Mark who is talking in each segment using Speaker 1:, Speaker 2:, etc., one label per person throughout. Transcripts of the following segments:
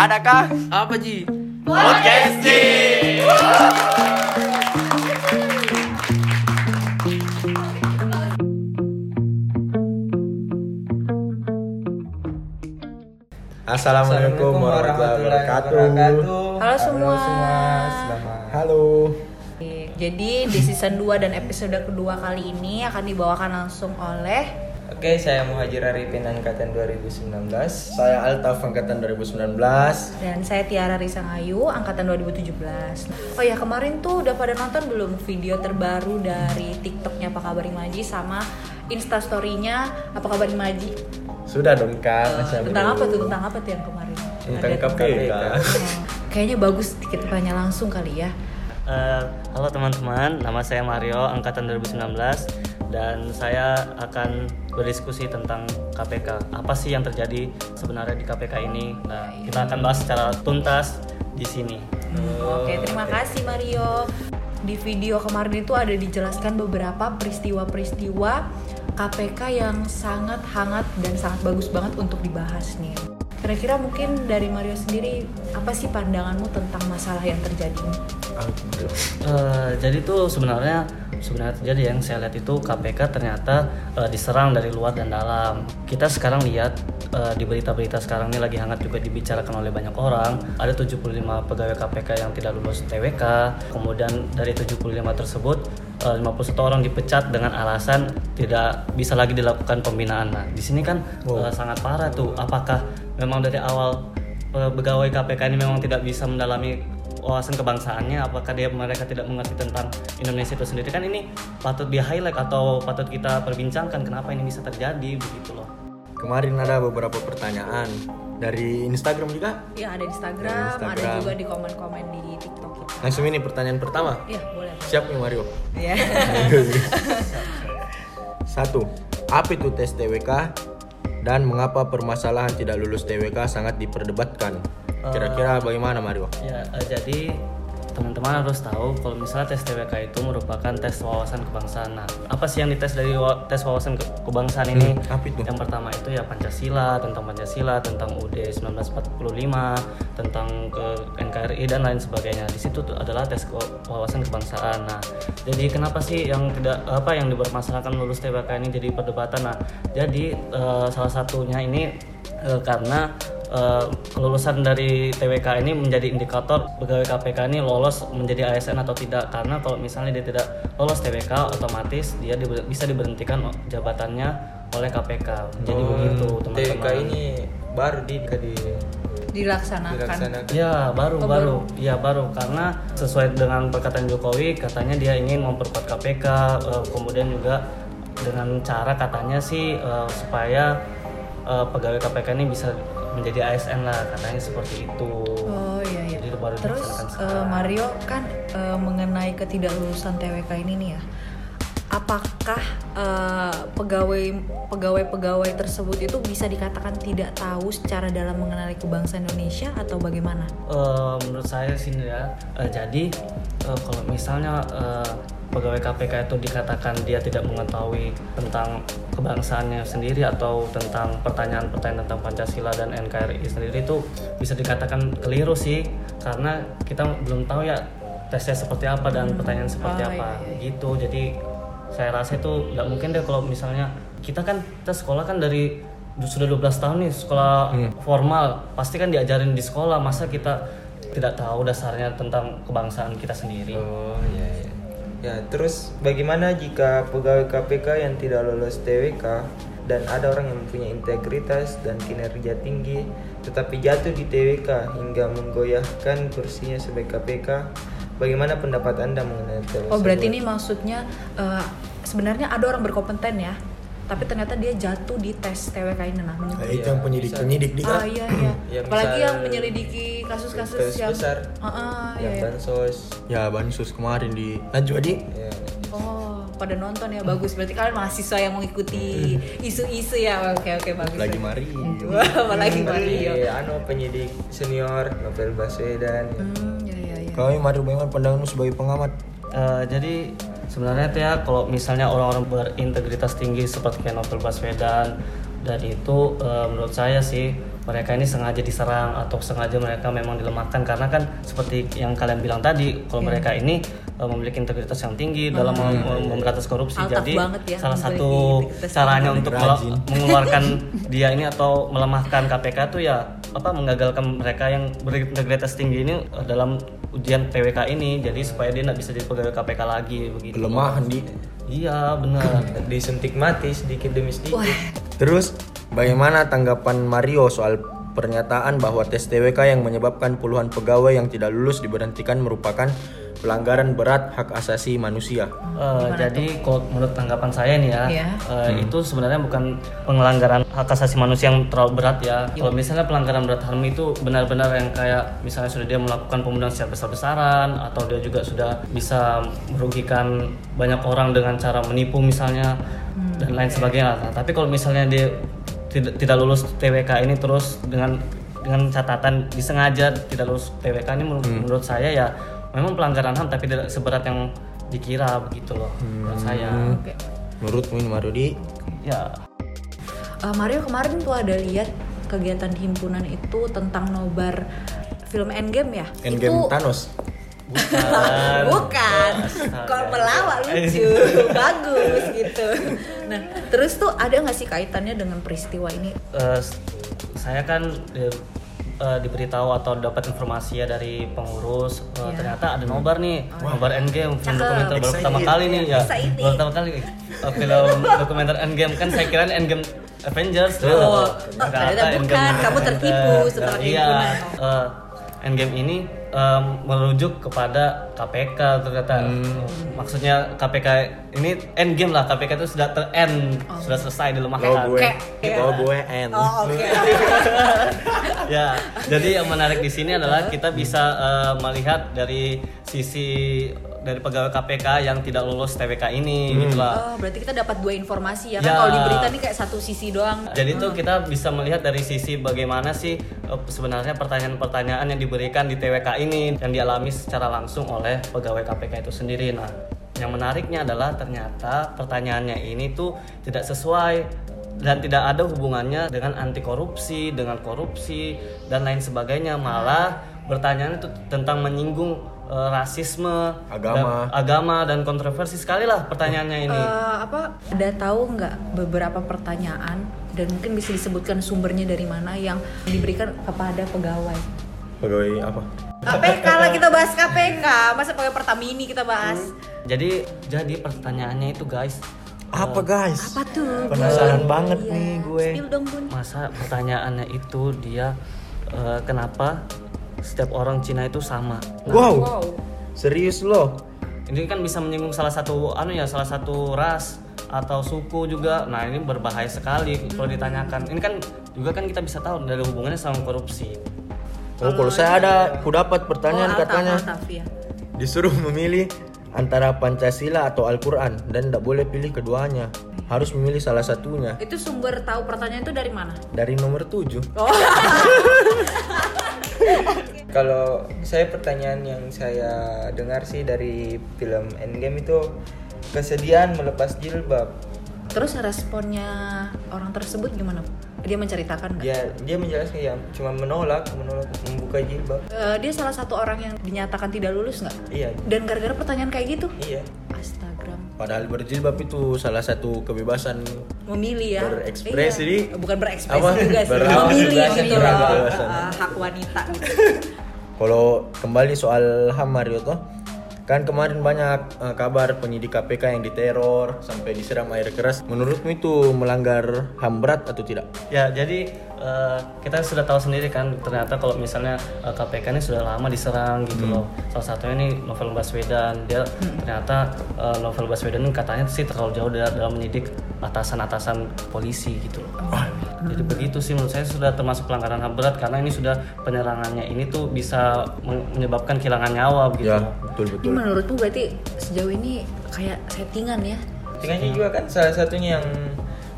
Speaker 1: Adakah
Speaker 2: Apa Ji?
Speaker 1: podcast Ji? Assalamualaikum warahmatullahi wabarakatuh.
Speaker 3: Halo semua.
Speaker 1: Halo.
Speaker 3: Jadi di season 2 dan episode kedua kali ini akan dibawakan langsung oleh
Speaker 2: Oke, saya Muhajir Arifin angkatan 2019.
Speaker 1: Saya Altaf angkatan 2019.
Speaker 3: dan saya Tiara Risangayu angkatan 2017. Oh ya kemarin tuh udah pada nonton belum video terbaru dari TikToknya Apa Kabar Imaji sama Instastory-nya Apa Kabar Imaji?
Speaker 1: Sudah dong Kak.
Speaker 3: Eh,
Speaker 1: Saya
Speaker 3: tentang apa
Speaker 1: belum.
Speaker 3: tuh? Tentang apa tuh yang kemarin?
Speaker 1: Tentang
Speaker 3: Ada-
Speaker 1: KPK.
Speaker 3: Hmm, Kayaknya bagus kita tanya langsung kali ya.
Speaker 4: Eh, halo teman-teman, nama saya Mario, angkatan 2019 dan saya akan berdiskusi tentang KPK. Apa sih yang terjadi sebenarnya di KPK ini? Nah, kita akan bahas secara tuntas di sini.
Speaker 3: Hmm, Oke, terima kasih Mario. Di video kemarin itu ada dijelaskan beberapa peristiwa-peristiwa KPK yang sangat hangat dan sangat bagus banget untuk dibahas nih. Kira-kira mungkin dari Mario sendiri apa sih pandanganmu tentang masalah yang terjadi ini?
Speaker 4: Eh, jadi tuh sebenarnya sebenarnya terjadi yang saya lihat itu KPK ternyata eh, diserang dari luar dan dalam. Kita sekarang lihat eh, di berita-berita sekarang ini lagi hangat juga dibicarakan oleh banyak orang. Ada 75 pegawai KPK yang tidak lulus TWK. Kemudian dari 75 tersebut eh, 51 orang dipecat dengan alasan tidak bisa lagi dilakukan pembinaan. Nah, di sini kan eh, sangat parah tuh. Apakah memang dari awal eh, pegawai KPK ini memang tidak bisa mendalami wawasan kebangsaannya apakah dia mereka tidak mengerti tentang Indonesia itu sendiri kan ini patut di highlight atau patut kita perbincangkan kenapa ini bisa terjadi begitu loh
Speaker 1: Kemarin ada beberapa pertanyaan dari Instagram juga.
Speaker 3: Ya ada di Instagram, ada
Speaker 1: Instagram.
Speaker 3: juga di komen-komen di TikTok kita.
Speaker 1: Langsung ini pertanyaan pertama.
Speaker 3: Ya boleh.
Speaker 1: Siap nih Mario.
Speaker 3: Ya.
Speaker 1: Satu, apa itu tes TWK dan mengapa permasalahan tidak lulus TWK sangat diperdebatkan? Kira-kira bagaimana Mario?
Speaker 4: ya eh, jadi teman-teman harus tahu kalau misalnya tes TWK itu merupakan tes wawasan kebangsaan Nah, apa sih yang dites dari wa- tes wawasan ke- kebangsaan ini
Speaker 1: Hmm, apa itu?
Speaker 4: yang pertama itu ya Pancasila tentang Pancasila tentang UUD 1945 tentang ke NKRI dan lain sebagainya di situ tuh adalah tes ke- wawasan kebangsaan nah jadi kenapa sih yang tidak apa yang dipermasalahkan lulus TWK ini jadi perdebatan nah jadi eh, salah satunya ini eh, karena eh, kelulusan dari TWK ini menjadi indikator pegawai KPK ini lolos menjadi ASN atau tidak karena kalau misalnya dia tidak lolos TWK otomatis dia diber- bisa diberhentikan jabatannya oleh KPK. Jadi begitu
Speaker 2: TK
Speaker 4: teman-teman.
Speaker 2: ini baru di di
Speaker 3: Dilaksanakan.
Speaker 2: dilaksanakan.
Speaker 4: Ya baru
Speaker 3: Oh,
Speaker 4: baru, ya baru karena sesuai dengan perkataan Jokowi katanya dia ingin memperkuat KPK, eh, kemudian juga dengan cara katanya sih eh, supaya eh, pegawai KPK ini bisa menjadi ASN lah katanya seperti itu.
Speaker 3: Oh iya iya.
Speaker 4: Jadi itu baru
Speaker 3: Terus
Speaker 4: dilaksanakan
Speaker 3: eh,
Speaker 4: sekarang.
Speaker 3: Mario kan eh, mengenai ketidaklulusan TWK ini nih ya. Apakah eh, pegawai pegawai pegawai tersebut itu bisa dikatakan tidak tahu secara dalam mengenali kebangsaan Indonesia atau bagaimana?
Speaker 4: Eh, menurut saya sih nih ya eh, jadi eh, kalau misalnya eh, pegawai KPK itu dikatakan dia tidak mengetahui tentang kebangsaannya sendiri atau tentang pertanyaan-pertanyaan tentang Pancasila dan NKRI sendiri itu bisa dikatakan keliru sih karena kita belum tahu ya tesnya seperti apa dan pertanyaan
Speaker 3: Oh,
Speaker 4: seperti apa
Speaker 3: iya, iya.
Speaker 4: gitu jadi saya rasa itu nggak mungkin deh kalau misalnya kita kan kita sekolah kan dari sudah 12 tahun nih sekolah formal pasti kan diajarin di sekolah masa kita tidak tahu dasarnya tentang kebangsaan kita sendiri
Speaker 2: Oh, ya ya. Ya, terus bagaimana jika pegawai KPK yang tidak lulus TWK dan ada orang yang mempunyai integritas dan kinerja tinggi tetapi jatuh di TWK hingga menggoyahkan kursinya sebagai KPK? Bagaimana pendapat Anda mengenai hal
Speaker 3: Oh
Speaker 2: tersebut?
Speaker 3: berarti ini maksudnya eh, sebenarnya ada orang berkompeten ya, tapi ternyata dia jatuh di tes TWK ini nah. menurut-
Speaker 1: Eh, itu yang penyidik penyidik
Speaker 3: Ah iya iya.
Speaker 2: Ya,
Speaker 3: Apalagi
Speaker 2: misal-
Speaker 3: yang menyelidiki kasus-kasus
Speaker 2: Kasus
Speaker 3: yang
Speaker 2: besar.
Speaker 3: Ah, ah, iya,
Speaker 2: yang
Speaker 3: iya.
Speaker 2: bansos
Speaker 1: Ya bansus kemarin di lanjut Adi.
Speaker 2: ya.
Speaker 3: Oh, pada nonton ya bagus. Berarti kalian mahasiswa yang mengikuti isu-isu ya. Oke oke bagus.
Speaker 1: Lagi mari.
Speaker 3: Wah, apalagi Mario.
Speaker 2: Seperti, anu penyidik senior Novel Baswedan ya.
Speaker 3: Hmm, ya ya ya.
Speaker 1: Kami Mario bagaimana pandanganmu sebagai pengamat?
Speaker 4: Eh, jadi sebenarnya tuh ya kalau misalnya orang-orang berintegritas tinggi seperti kayak Novel Baswedan dan itu eh, menurut saya sih mereka ini sengaja diserang atau sengaja mereka memang dilemahkan karena kan seperti yang kalian bilang tadi
Speaker 3: Iya.
Speaker 4: kalau mereka ini eh, memiliki integritas yang tinggi dalam mem- mem- memberantas korupsi
Speaker 3: Altaf
Speaker 4: jadi
Speaker 3: Hmm. banget ya,
Speaker 4: salah
Speaker 3: memiliki
Speaker 4: satu
Speaker 3: integritas
Speaker 4: caranya
Speaker 1: yang
Speaker 4: untuk
Speaker 1: rajin.
Speaker 4: melo- mengeluarkan dia ini atau melemahkan KPK tuh ya apa menggagalkan mereka yang berintegritas tinggi ini eh, dalam ujian PWK ini jadi supaya dia nggak bisa jadi pegawai KPK lagi begitu
Speaker 1: Pelemahan di.
Speaker 3: Nah.
Speaker 4: iya benar
Speaker 2: disuntik mati sedikit demi sedikit
Speaker 1: Terus bagaimana tanggapan Mario soal pernyataan bahwa tes TWK yang menyebabkan puluhan pegawai yang tidak lulus diberhentikan merupakan pelanggaran berat hak asasi manusia.
Speaker 4: Eh, jadi kalau menurut tanggapan saya nih ya,
Speaker 3: Iya.
Speaker 4: eh, itu sebenarnya bukan pelanggaran hak asasi manusia yang terlalu berat ya. Kalau misalnya pelanggaran berat HAM itu benar-benar yang kayak misalnya sudah dia melakukan pembunuhan secara besar-besaran atau dia juga sudah bisa merugikan banyak orang dengan cara menipu misalnya dan lain sebagainya. Nah, tapi kalau misalnya dia tidak, tidak lulus TWK ini terus dengan dengan catatan disengaja tidak lulus TWK ini menurut, menurut saya ya memang pelanggaran HAM tapi tidak seberat yang dikira begitu loh menurut saya
Speaker 3: Oke.
Speaker 1: Menurutmu ini Mario di
Speaker 4: ya
Speaker 3: Eh, Mario kemarin tuh ada lihat kegiatan di himpunan itu tentang nobar film Endgame ya?
Speaker 1: Endgame kan?
Speaker 3: itu
Speaker 1: Thanos.
Speaker 3: bukan kalau melawak lucu bagus gitu nah terus tuh ada nggak sih kaitannya dengan peristiwa ini
Speaker 4: eh, s- saya kan di- eh, diberitahu atau dapat informasi ya dari pengurus eh,
Speaker 3: Iya. Oh,
Speaker 4: ternyata ada nobar nih nobar Endgame film
Speaker 3: Cakep.
Speaker 4: dokumenter baru pertama kali nih ya
Speaker 3: Exciting.
Speaker 4: baru pertama kali eh, film dokumenter Endgame kan saya kira Endgame Avengers ternyata-
Speaker 3: Oh, ternyata bukan. Kamu tertipu setelah
Speaker 4: iya,
Speaker 3: himpunan.
Speaker 4: eh, Endgame ini eh, merujuk kepada KPK ternyata maksudnya KPK ini Endgame lah KPK itu sudah ter-end
Speaker 3: Oh.
Speaker 4: sudah selesai dilemahkan
Speaker 1: Kalau gue,
Speaker 3: Kayak-
Speaker 1: kalau gue N.
Speaker 3: oh oke
Speaker 4: ya jadi yang menarik di sini adalah kita bisa eh, melihat dari sisi dari pegawai KPK yang tidak lulus TWK ini gitu lah
Speaker 3: Oh, berarti kita dapat dua informasi ya kan
Speaker 4: Ya.
Speaker 3: kalau di berita nih kayak satu sisi doang
Speaker 4: Jadi itu kita bisa melihat dari sisi bagaimana sih eh, sebenarnya pertanyaan-pertanyaan yang diberikan di TWK ini yang dialami secara langsung oleh pegawai KPK itu sendiri. Nah, yang menariknya adalah ternyata pertanyaannya ini tuh tidak sesuai dan tidak ada hubungannya dengan anti korupsi, dengan korupsi dan lain sebagainya. Malah pertanyaan itu tentang menyinggung eh, rasisme,
Speaker 1: Agama.
Speaker 4: dan, agama dan kontroversi sekali lah pertanyaannya ini.
Speaker 3: Eh, apa ada tahu nggak beberapa pertanyaan dan mungkin bisa disebutkan sumbernya dari mana yang diberikan kepada pegawai
Speaker 1: Pegawai apa?
Speaker 3: KPK lah kita bahas KPK masa pakai Pertamini kita bahas
Speaker 4: Jadi jadi pertanyaannya itu guys,
Speaker 1: Apa guys?
Speaker 3: apa tuh Bun?
Speaker 1: Penasaran banget
Speaker 3: Iya.
Speaker 1: nih gue.
Speaker 3: Spill dong bun
Speaker 4: masa pertanyaannya itu dia eh, kenapa setiap orang Cina itu sama?
Speaker 1: Wow,
Speaker 3: wow
Speaker 1: serius loh.
Speaker 4: Ini kan bisa menyinggung salah satu anu ya, salah satu ras atau suku juga. Nah, ini berbahaya sekali kalau ditanyakan. Ini kan juga kan kita bisa tahu dari hubungannya sama korupsi.
Speaker 1: Oh, kalau saya ada, aku dapat pertanyaan
Speaker 3: Oh, Altaf,
Speaker 1: katanya
Speaker 3: Altaf, ya.
Speaker 1: disuruh memilih antara Pancasila atau Al-Quran dan tidak boleh pilih keduanya. Harus memilih salah satunya.
Speaker 3: Itu sumber tahu pertanyaan itu dari mana?
Speaker 1: Dari nomor 7
Speaker 3: Oh.
Speaker 2: Kalau saya pertanyaan yang saya dengar sih dari film Endgame itu kesediaan melepas jilbab.
Speaker 3: Terus responnya orang tersebut gimana? Dia
Speaker 1: Iya.
Speaker 3: menceritakan nggak?
Speaker 2: Dia dia menjelaskan ya cuma menolak, menolak membuka jilbab.
Speaker 3: Eh, dia salah satu orang yang dinyatakan tidak lulus nggak?
Speaker 2: Iya,
Speaker 3: Dan gara-gara pertanyaan kayak gitu?
Speaker 2: iya.
Speaker 3: Astaga.
Speaker 1: Padahal berjilbab itu salah satu kebebasan
Speaker 3: Memilih ya.
Speaker 1: Berekspresi,
Speaker 3: Iya.
Speaker 1: Di.
Speaker 3: Bukan berekspresi
Speaker 1: Apa?
Speaker 3: juga sih.
Speaker 1: Berlawan
Speaker 3: Memilih
Speaker 1: kebebasan,
Speaker 3: gitu
Speaker 1: berlawan
Speaker 3: loh.
Speaker 1: kebebasan.
Speaker 3: Eh, hak wanita gitu.
Speaker 1: Kalau kembali soal HAM Mario toh, kan kemarin banyak eh, kabar penyidik KPK yang diteror sampai disiram air keras. Menurutmu itu melanggar HAM berat atau tidak?
Speaker 4: Ya, jadi eh, kita sudah tahu sendiri kan ternyata kalau misalnya eh, KPK ini sudah lama diserang gitu loh. Salah satunya ini Novel Baswedan. Dia ternyata eh, Novel Baswedan ini katanya sih terlalu jauh dari- dalam menyidik atasan-atasan polisi gitu loh. Jadi begitu sih menurut saya sudah termasuk pelanggaran HAM berat karena ini sudah penyerangannya ini tuh bisa men- menyebabkan kehilangan nyawa
Speaker 1: Iya, Ya.
Speaker 4: begitu. loh.
Speaker 1: betul
Speaker 3: Ini menurutmu berarti sejauh ini kayak settingan ya?
Speaker 2: Tinggalnya juga kan salah satunya yang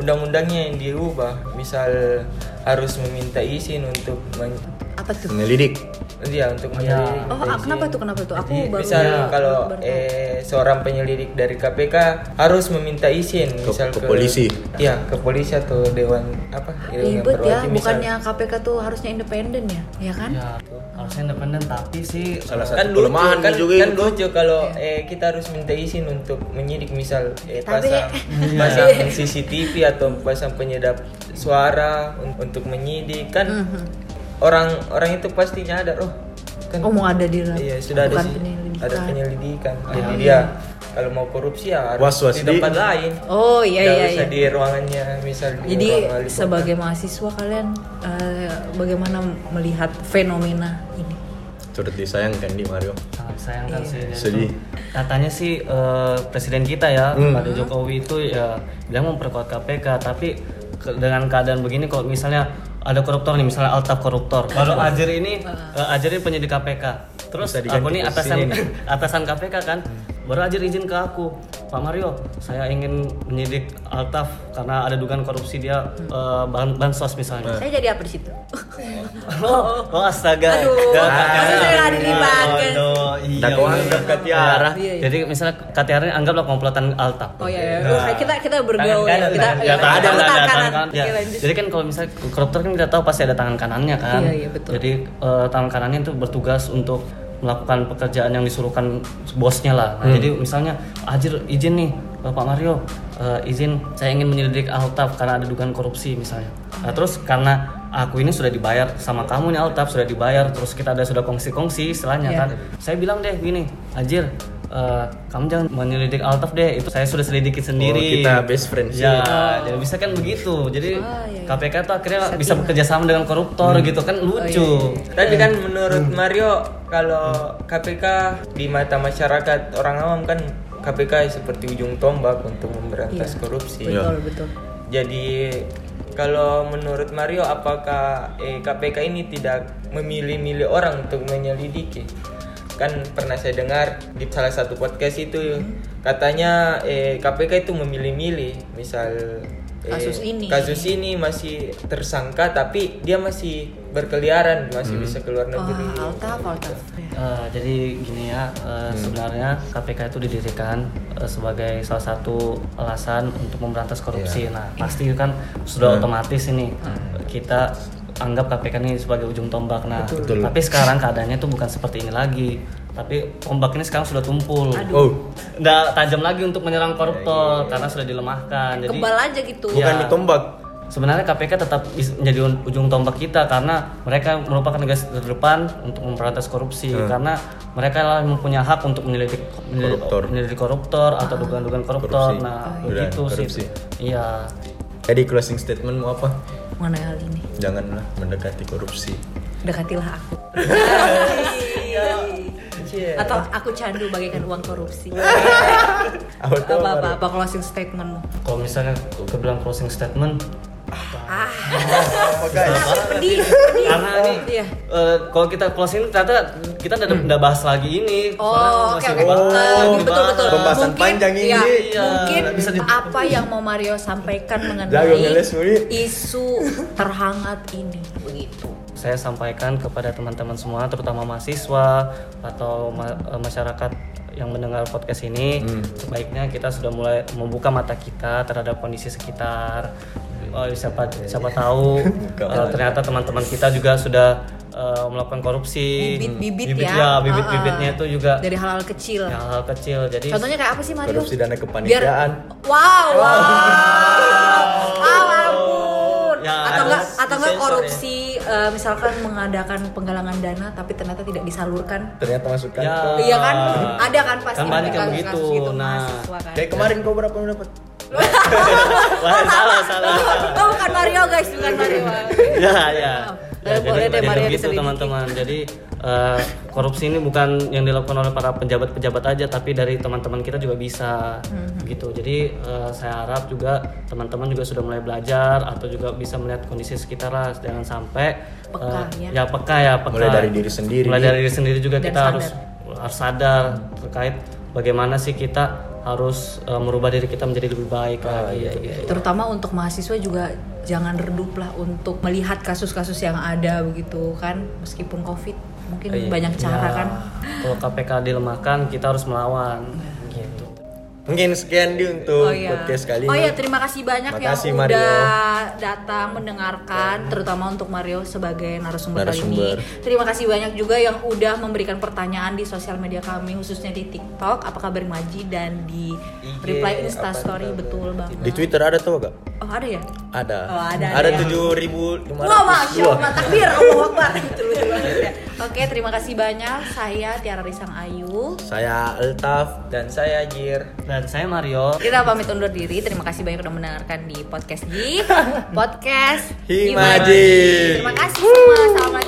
Speaker 2: undang-undangnya yang dirubah. Misal harus meminta izin untuk men-
Speaker 3: Apa tuh?
Speaker 1: Menyelidik.
Speaker 2: Iya untuk
Speaker 4: Oh, ya.
Speaker 2: menyelidiki.
Speaker 3: Oh, ah, kenapa tuh? Kenapa tuh? Aku
Speaker 2: Jadi,
Speaker 3: baru
Speaker 2: misal
Speaker 3: baru-
Speaker 2: kalau
Speaker 3: baru tahu.
Speaker 2: eh, seorang penyelidik dari KPK harus meminta izin
Speaker 1: Ke-
Speaker 2: misal
Speaker 1: ke polisi.
Speaker 2: Iya, ke polisi atau dewan apa? dewan yang
Speaker 3: ribet ya,
Speaker 2: berwajib, misal. Iya.
Speaker 3: bukannya KPK tuh harusnya independen ya, ya kan?
Speaker 4: ya harusnya independen tapi sih
Speaker 1: Salah satu
Speaker 2: kan lucu
Speaker 1: kelemahan
Speaker 2: kan,
Speaker 1: juga
Speaker 2: kan
Speaker 1: itu.
Speaker 2: lucu kalau
Speaker 3: Iya.
Speaker 2: eh, kita harus minta izin untuk menyidik misal eh,
Speaker 3: Tapi-
Speaker 2: pasang
Speaker 4: Iya.
Speaker 2: pasang CCTV atau pasang penyedap suara un- untuk menyidik kan
Speaker 3: Mhm.
Speaker 2: orang orang itu pastinya ada oh kan
Speaker 3: Oh mau ada di dalam.
Speaker 2: iya sudah ada
Speaker 3: Bukan
Speaker 2: sih
Speaker 3: penyelidikan. Ah.
Speaker 2: ada penyelidikan jadi
Speaker 4: Iya.
Speaker 2: dia kalau mau korupsi ya harus
Speaker 1: Was-was
Speaker 2: di
Speaker 1: di-
Speaker 2: tempat lain
Speaker 3: Oh iya
Speaker 2: Nggak
Speaker 3: iya.
Speaker 2: usah
Speaker 3: iya.
Speaker 2: di ruangannya misal di
Speaker 3: Jadi
Speaker 2: ruang wali kota.
Speaker 3: sebagai mahasiswa kalian eh, bagaimana melihat fenomena ini?
Speaker 1: Turut disayangkan di Mario.
Speaker 4: sangat disayangkan Ah,
Speaker 3: Iya.
Speaker 4: sih dia
Speaker 1: Sedih.
Speaker 4: itu. katanya sih eh, presiden kita ya
Speaker 1: Hmm.
Speaker 4: Pak Jokowi itu ya bilang memperkuat KPK tapi ke- dengan keadaan begini kalau misalnya ada koruptor nih misalnya Altaf koruptor kalau Ajer ini eh, Ajer ini penyidik KPK terus
Speaker 1: Bisa diganti
Speaker 4: aku nih
Speaker 1: posisinya Hmm.
Speaker 4: atasan atasan KPK kan baru Ajer izin ke aku Pak Mario saya ingin menyidik Altaf karena ada dugaan korupsi dia
Speaker 3: Hmm.
Speaker 4: eh, bahan bansos misalnya
Speaker 3: Saya jadi apa di situ?
Speaker 4: oh, oh, astaga
Speaker 3: Aduh,
Speaker 4: Dan-
Speaker 3: maksudnya saya ada di bagian.
Speaker 4: Aduh, iya,
Speaker 1: Dakwaan
Speaker 4: iya.
Speaker 1: ke Katiara.
Speaker 3: Iya, iya.
Speaker 4: Jadi misalnya KTR ini anggaplah komplotan Alta.
Speaker 3: Oh iya, iya. Wah, kita kita bergaul ya.
Speaker 2: kanan,
Speaker 3: Kita
Speaker 2: tangan
Speaker 3: iya,
Speaker 4: Ya, tangan kanan,
Speaker 3: tangan
Speaker 4: tangan
Speaker 3: kanan.
Speaker 4: kanan. Ya,
Speaker 3: Oke, lanjut.
Speaker 4: Jadi kan kalau misalnya koruptor kan kita tahu pasti ada tangan kanannya kan.
Speaker 3: Iya, iya, betul.
Speaker 4: Jadi eh, tangan kanannya itu bertugas untuk melakukan pekerjaan yang disuruhkan bosnya lah.
Speaker 3: Hmm.
Speaker 4: Nah, Jadi misalnya Ajir izin nih eh, Pak Mario eh, izin saya ingin menyelidik Altaf karena ada dugaan korupsi misalnya. Nah, terus karena aku ini sudah dibayar sama kamu nih Altaf sudah dibayar terus kita ada sudah kongsi-kongsi istilahnya
Speaker 3: Iya.
Speaker 4: kan. Saya bilang deh gini, Ajir eh, kamu jangan menyelidik Altaf deh itu saya sudah selidiki
Speaker 1: Oh,
Speaker 4: sendiri.
Speaker 1: kita best friend sih.
Speaker 4: Ya, jadi bisa kan begitu. Jadi
Speaker 3: Ah, iya, iya.
Speaker 4: KPK tuh akhirnya
Speaker 3: Bisa Oh, iya,
Speaker 4: bisa
Speaker 3: gimana?
Speaker 4: bekerja sama dengan koruptor
Speaker 1: Hmm.
Speaker 4: gitu kan lucu.
Speaker 2: Tapi kan menurut Mario kalau KPK di mata masyarakat orang awam kan KPK seperti ujung tombak untuk memberantas
Speaker 3: Iya.
Speaker 2: korupsi.
Speaker 3: Betul, betul.
Speaker 2: Jadi kalau menurut Mario apakah eh, KPK ini tidak memilih-milih orang untuk menyelidiki? Kan pernah saya dengar di salah satu podcast itu
Speaker 3: Hmm.
Speaker 2: katanya eh, KPK itu memilih-milih misal eh,
Speaker 3: Kasus ini.
Speaker 2: kasus ini masih tersangka tapi dia masih berkeliaran masih
Speaker 3: Hmm.
Speaker 2: bisa keluar negeri.
Speaker 3: Wah, Altaf, Altaf. Ya.
Speaker 4: Eh, jadi gini ya, eh,
Speaker 1: Hmm.
Speaker 4: sebenarnya KPK itu didirikan eh, sebagai salah satu alasan untuk memberantas
Speaker 1: Iya.
Speaker 4: korupsi. Nah, pasti kan
Speaker 1: Hmm.
Speaker 4: sudah otomatis ini
Speaker 3: Hmm.
Speaker 4: kita anggap KPK ini sebagai ujung tombak. Nah,
Speaker 1: Betul.
Speaker 4: tapi sekarang keadaannya tuh bukan seperti ini lagi. Tapi tombak ini sekarang sudah tumpul.
Speaker 1: Oh,
Speaker 4: Nggak tajam lagi untuk menyerang
Speaker 1: Iya,
Speaker 4: koruptor karena sudah dilemahkan. Jadi
Speaker 3: Kebal aja gitu.
Speaker 1: bukan
Speaker 4: Ya.
Speaker 1: ditombak.
Speaker 4: Sebenarnya KPK tetap is- menjadi un- ujung tombak kita karena mereka merupakan negara terdepan untuk memberantas korupsi
Speaker 1: Iya.
Speaker 4: karena mereka lah yang mempunyai hak untuk menyelidik menyelidik-
Speaker 1: Koruptor. Ah.
Speaker 4: menyelidik koruptor atau dugaan-dugaan koruptor.
Speaker 1: Korupsi.
Speaker 4: Nah,
Speaker 1: Dugaan
Speaker 4: begitu
Speaker 1: korupsi.
Speaker 4: sih. Iya.
Speaker 1: Jadi closing statement mau apa?
Speaker 3: Mengenai hal ini.
Speaker 1: Janganlah mendekati korupsi.
Speaker 3: Dekatilah aku.
Speaker 2: Cie.
Speaker 3: Atau aku candu bagaikan uang korupsi.
Speaker 1: Apa tuh,
Speaker 3: apa apa
Speaker 1: Mario?
Speaker 3: apa closing statement
Speaker 4: Kalau misalnya aku bilang closing statement
Speaker 3: Ah. pedih
Speaker 4: karena ini
Speaker 3: Iya.
Speaker 4: eh, kalau kita closing ternyata kita udah,
Speaker 1: Hmm.
Speaker 4: udah bahas lagi ini.
Speaker 3: Oh, oke, oke.
Speaker 4: Soalnya masih banyak
Speaker 3: Eh,
Speaker 4: dibahas.
Speaker 3: betul betul.
Speaker 1: Pembahasan
Speaker 3: Mungkin-
Speaker 1: panjang ini.
Speaker 3: ya,
Speaker 4: Iya,
Speaker 3: mungkin
Speaker 4: nggak bisa di-
Speaker 3: apa yang mau Mario sampaikan
Speaker 1: Jago
Speaker 3: mengenai
Speaker 1: ngeles, Muri.
Speaker 3: isu terhangat ini, begitu.
Speaker 4: saya sampaikan kepada teman-teman semua terutama mahasiswa atau ma- eh, masyarakat yang mendengar podcast ini sebaiknya kita sudah mulai membuka mata kita terhadap kondisi sekitar Oh, siapa siapa tahu eh, ternyata teman-teman kita juga sudah eh, melakukan korupsi
Speaker 3: Bibit-bibit
Speaker 4: Bibit,
Speaker 3: ya.
Speaker 4: bibit-bibitnya
Speaker 3: Ah,
Speaker 4: itu juga
Speaker 3: Dari hal-hal kecil.
Speaker 4: hal kecil jadi
Speaker 3: Contohnya kayak apa sih Mario?
Speaker 1: Korupsi dana
Speaker 3: Biar
Speaker 1: kepanitiaan.
Speaker 3: wow, wow. Ah, ampun.
Speaker 4: Ya,
Speaker 3: atau enggak
Speaker 4: harus
Speaker 3: atau enggak
Speaker 2: disensor
Speaker 3: korupsi eh, misalkan mengadakan penggalangan dana tapi ternyata tidak disalurkan.
Speaker 1: Ternyata masuk
Speaker 4: Ya.
Speaker 1: kantor.
Speaker 3: Iya kan? Ada kan pasti
Speaker 4: Kan banyak yang
Speaker 3: kasus-kasus
Speaker 4: begitu.
Speaker 3: gitu,
Speaker 4: Nah.
Speaker 3: mahasiswa kan.
Speaker 1: Kayak kemarin kau berapa yang dapat?
Speaker 4: Wah, salah salah
Speaker 3: Oh, bukan Mario guys, bukan Mario.
Speaker 4: ya ya.
Speaker 3: Eh,
Speaker 4: Ya,
Speaker 3: boleh deh,
Speaker 4: jadi
Speaker 3: Maria
Speaker 4: begitu
Speaker 3: diselidiki.
Speaker 4: teman-teman. Jadi eh, korupsi ini bukan yang dilakukan oleh para pejabat-pejabat aja, tapi dari teman-teman kita juga bisa
Speaker 3: Hmm.
Speaker 4: gitu. Jadi eh, saya harap juga teman-teman juga sudah mulai belajar atau juga bisa melihat kondisi sekitar lah. Jangan sampai
Speaker 3: Peka,
Speaker 4: eh,
Speaker 3: ya.
Speaker 4: ya peka ya peka.
Speaker 1: Mulai dari diri sendiri.
Speaker 4: Mulai dari diri sendiri juga
Speaker 3: Dan
Speaker 4: kita
Speaker 3: sadar.
Speaker 4: harus harus sadar terkait bagaimana sih kita harus eh, merubah diri kita menjadi lebih baik
Speaker 1: Ah,
Speaker 4: lagi
Speaker 2: iya, iya.
Speaker 4: gitu.
Speaker 3: terutama untuk mahasiswa juga jangan redup lah untuk melihat kasus-kasus yang ada begitu kan meskipun covid mungkin
Speaker 2: Iya.
Speaker 3: banyak cara
Speaker 4: Ya,
Speaker 3: kan
Speaker 4: Kalau KPK dilemahkan kita harus melawan gitu.
Speaker 1: Mungkin sekian di untuk
Speaker 3: oh iya
Speaker 1: podcast kali ini.
Speaker 3: oh iya terima kasih banyak
Speaker 1: Makasih,
Speaker 3: yang
Speaker 1: Mario.
Speaker 3: udah datang mendengarkan terutama untuk Mario sebagai narasumber, kali ini
Speaker 1: Narasumber.
Speaker 3: terima kasih banyak juga yang udah memberikan pertanyaan di sosial media kami khususnya di TikTok apa kabar Maji dan di
Speaker 2: IG,
Speaker 3: reply
Speaker 2: apa
Speaker 3: Insta Story
Speaker 2: kabar?
Speaker 3: betul banget
Speaker 1: Di Twitter ada tuh gak?
Speaker 3: oh ada ya
Speaker 1: Ada.
Speaker 3: Oh, ada,
Speaker 1: ada
Speaker 3: ada.
Speaker 1: tujuh ribu lima
Speaker 3: Wah, masya Allah, takbir, Oh, Allah Akbar. Betul, betul banget ya. Oke, terima kasih banyak. Saya Tiara Risang Ayu.
Speaker 1: Saya Altaf.
Speaker 2: Dan saya Jir.
Speaker 4: Dan saya Mario.
Speaker 3: Kita pamit undur diri. Terima kasih banyak udah mendengarkan di podcast di podcast
Speaker 1: Himaji.
Speaker 3: Terima kasih semua. Assalamualaikum.